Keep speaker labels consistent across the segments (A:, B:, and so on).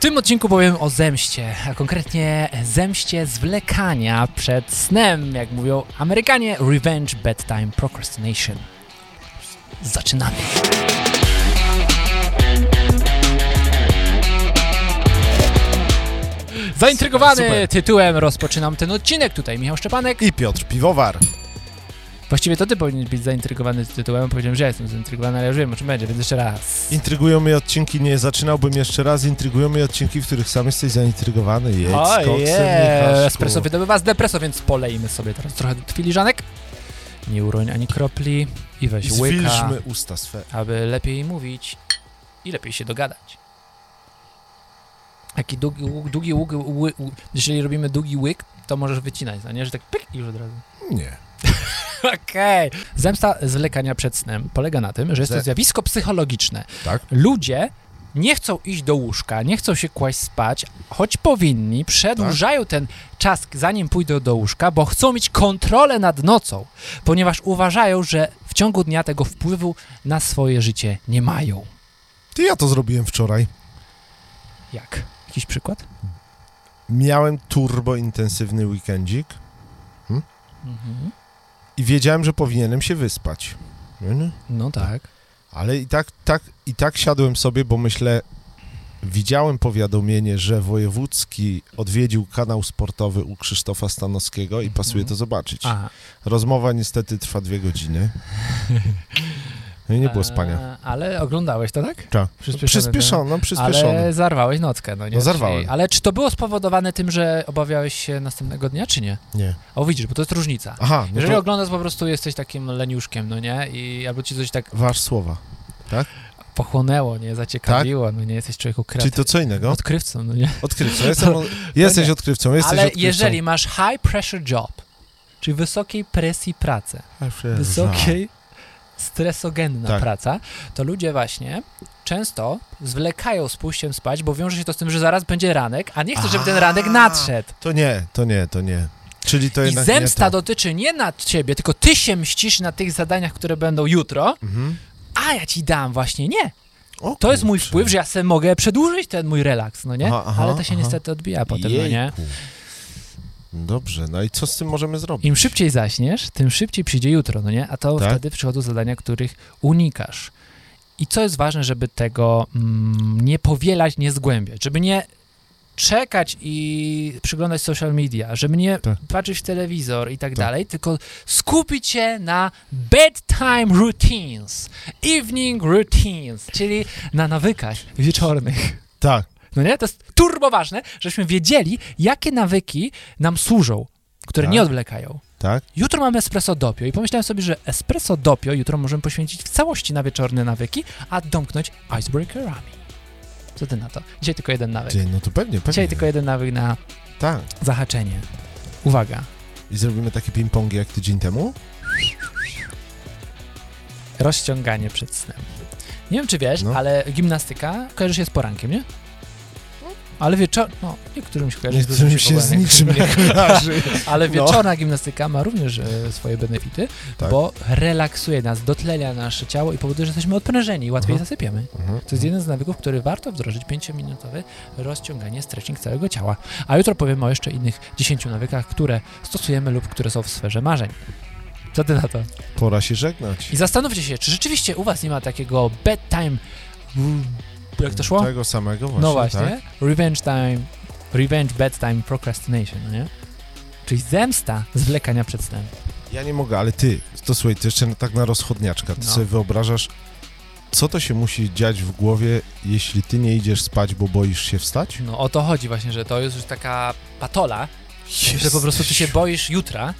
A: tym odcinku powiem o zemście, a konkretnie zemście zwlekania przed snem, jak mówią Amerykanie, Revenge Bedtime Procrastination. Zaczynamy. Zaintrygowany
B: Super.
A: tytułem rozpoczynam ten odcinek. Tutaj Michał Szczepanek.
B: I Piotr Piwowar.
A: Właściwie to ty powinien być zaintrygowany tytułem. Powiedziałem, że ja jestem zaintrygowany, ale już wiem o czym będzie, więc jeszcze raz.
B: Intrygują mnie odcinki, nie zaczynałbym jeszcze raz, intrygują mnie odcinki, w których sam jesteś zaintrygowany. Jedz z
A: Oj,
B: koksem,
A: je,
B: Michaszku.
A: Espresso wydobywa z depreso, więc polejmy sobie teraz trochę filiżanek. Nie uroń ani kropli i
B: I
A: weź łyka,
B: Zwilżmy usta swe.
A: aby lepiej mówić i lepiej się dogadać. Taki długi, łuk- długi łuk, ły, u- jeżeli robimy długi łyk, to możesz wycinać, no nie, że tak pyk i już od razu.
B: Nie.
A: Okej. Zemsta zwlekania przed snem polega na tym, że jest to
B: Ze-
A: zjawisko psychologiczne.
B: Tak.
A: Ludzie nie chcą iść do łóżka, nie chcą się kłaść spać, choć powinni, przedłużają
B: Tak.
A: ten czas, zanim pójdą do łóżka, bo chcą mieć kontrolę nad nocą, ponieważ uważają, że w ciągu dnia tego wpływu na swoje życie nie mają.
B: Ty ja to zrobiłem wczoraj.
A: Jak? Jakiś przykład?
B: Miałem turbo intensywny weekendzik Hm? i wiedziałem, że powinienem się wyspać. No, no.
A: No tak.
B: Ale i tak, tak, i tak siadłem sobie, bo myślę, widziałem powiadomienie, że Wojewódzki odwiedził kanał sportowy u Krzysztofa Stanowskiego i pasuje to zobaczyć.
A: Mhm. Aha.
B: Rozmowa niestety trwa dwie godziny. No i nie było spania.
A: E, Ale oglądałeś to, tak?
B: Cza. no,
A: Przyspieszony,
B: Przyspieszono, przyspieszono.
A: Ale zarwałeś nockę, no nie?
B: No zarwałem.
A: Czyli- Ale czy to było spowodowane tym, że obawiałeś się następnego dnia, czy nie?
B: Nie.
A: O, widzisz, bo to jest różnica.
B: Aha, no
A: Jeżeli
B: to
A: oglądasz, po prostu jesteś takim leniuszkiem, no nie? I albo ci coś tak
B: wasz słowa.
A: pochłonęło, nie? Zaciekawiło, no nie? Jesteś człowieku
B: Tak? Czyli
A: kreatywny.
B: to co innego?
A: Odkrywcą, no nie?
B: Odkrywcą. Jestem, jesteś
A: nie.
B: odkrywcą, jesteś
A: Ale
B: odkrywcą.
A: jeżeli masz high pressure job, czyli wysokiej presji pracę, wysokiej stresogenna
B: Tak.
A: praca, to ludzie właśnie często zwlekają z pójściem spać, bo wiąże się to z tym, że zaraz będzie ranek, a nie chcą, żeby ten ranek
B: A.
A: nadszedł.
B: To nie, to nie, to nie. Czyli to
A: I
B: jednak
A: zemsta
B: nie tak. to.
A: dotyczy nie na ciebie, tylko ty się mścisz na tych zadaniach, które będą jutro,
B: Mhm.
A: a ja ci dam właśnie nie.
B: O
A: To jest mój
B: kurczę.
A: wpływ, że ja sobie mogę przedłużyć ten mój relaks, no nie?
B: Aha, aha,
A: Ale to się
B: aha.
A: niestety odbija potem, no nie?
B: Jejku. Dobrze, no i co z tym możemy zrobić?
A: Im szybciej zaśniesz, tym szybciej przyjdzie jutro, no nie? A to
B: Tak.
A: wtedy przychodzą zadania, których unikasz. I co jest ważne, żeby tego mm, nie powielać, nie zgłębiać, żeby nie czekać i przyglądać social media, żeby nie
B: Tak.
A: patrzeć w telewizor i tak,
B: Tak.
A: dalej, tylko skupić się na bedtime routines, evening routines, czyli na nawykach wieczornych.
B: Tak,
A: No nie? To jest turbo ważne, żebyśmy wiedzieli, jakie nawyki nam służą, które
B: Tak.
A: nie odwlekają.
B: tak.
A: Jutro mamy espresso dopio i pomyślałem sobie, że espresso dopio jutro możemy poświęcić w całości na wieczorne nawyki, a domknąć icebreakerami. Co ty na to? Dzisiaj tylko jeden nawyk.
B: Dzień, no to pewnie, pewnie.
A: Dzisiaj tylko jeden nawyk na
B: Tak.
A: zahaczenie. Uwaga.
B: I zrobimy takie ping-pongi jak tydzień temu?
A: Rozciąganie przed snem. Nie wiem, czy wiesz,
B: No.
A: ale gimnastyka kojarzy się z porankiem, nie? Ale wieczor... No, niektórym się kojarzy dużym
B: Niektórym się z
A: porankiem,
B: niczym
A: niektórym
B: nie kojarzy.
A: Ale
B: No.
A: wieczorna gimnastyka ma również e, swoje benefity,
B: Tak.
A: bo relaksuje nas, dotlenia nasze ciało i powoduje, że jesteśmy odprężeni i łatwiej
B: Mhm.
A: zasypiamy.
B: Mhm.
A: To jest jeden z nawyków, który warto wdrożyć, 5-minutowe rozciąganie, stretching całego ciała. A jutro powiem o jeszcze innych 10 nawykach, które stosujemy lub które są w sferze marzeń. Co ty na to?
B: Pora się żegnać.
A: I zastanówcie się, czy rzeczywiście u was nie ma takiego bedtime... mm, Jak to szło?
B: Tego samego Tak, właśnie.
A: No właśnie.
B: Tak?
A: Revenge time, revenge bedtime procrastination, no nie? Czyli zemsta zwlekania przed snem.
B: tak. Ja nie mogę, ale ty, to słuchaj, to jeszcze tak na rozchodniaczka. Ty
A: No.
B: sobie wyobrażasz, co to się musi dziać w głowie, jeśli ty nie idziesz spać, bo boisz się wstać?
A: No o to chodzi właśnie, że to jest już taka patola, że po prostu ty się
B: boisz.
A: boisz jutra.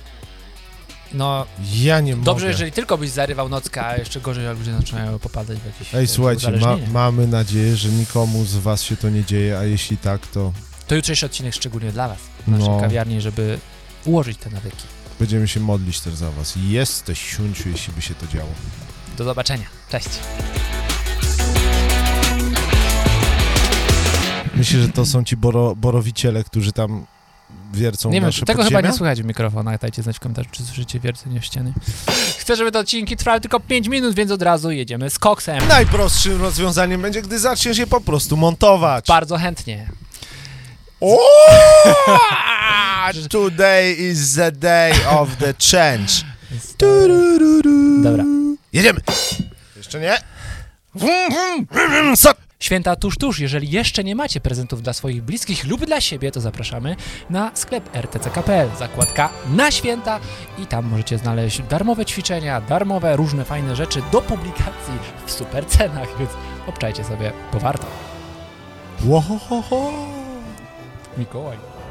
A: No
B: Ja nie
A: dobrze,
B: mogę.
A: jeżeli tylko byś zarywał nocka, a jeszcze gorzej, jak ludzie zaczynają popadać w jakieś
B: Ej,
A: e,
B: słuchajcie, ma,
A: uzależnienia.
B: mamy nadzieję, że nikomu z was się to nie dzieje, a jeśli tak, to
A: To jutrzejszy odcinek szczególnie dla was, w naszej
B: no,
A: kawiarni, żeby ułożyć te nawyki.
B: będziemy się modlić też za was. Jesteś siunciu, jeśli by się to działo.
A: Do zobaczenia. Cześć.
B: Myślę, że to są ci boro, borowiciele, którzy tam wiercą
A: nie wiem,
B: nasze
A: tego chyba
B: podziemia?
A: nie słychać w mikrofonach. Dajcie znać w komentarzu, czy słyszycie wiercenie w ściany. Chcę, żeby te odcinki trwały tylko 5 minut, więc od razu jedziemy z koksem.
B: Najprostszym rozwiązaniem będzie, gdy zaczniesz je po prostu montować.
A: Bardzo chętnie.
B: O! Oh! Today is the day of the change.
A: Dobra.
B: Jedziemy. Jeszcze nie. Wum, wum, wum, wum, sot.
A: Święta tuż, tuż. Jeżeli jeszcze nie macie prezentów dla swoich bliskich lub dla siebie, to zapraszamy na sklep rtck.pl, zakładka na święta i tam możecie znaleźć darmowe ćwiczenia, darmowe różne fajne rzeczy do publikacji w super cenach, więc obczajcie sobie, bo warto.
B: Łohohoho.
A: Mikołaj.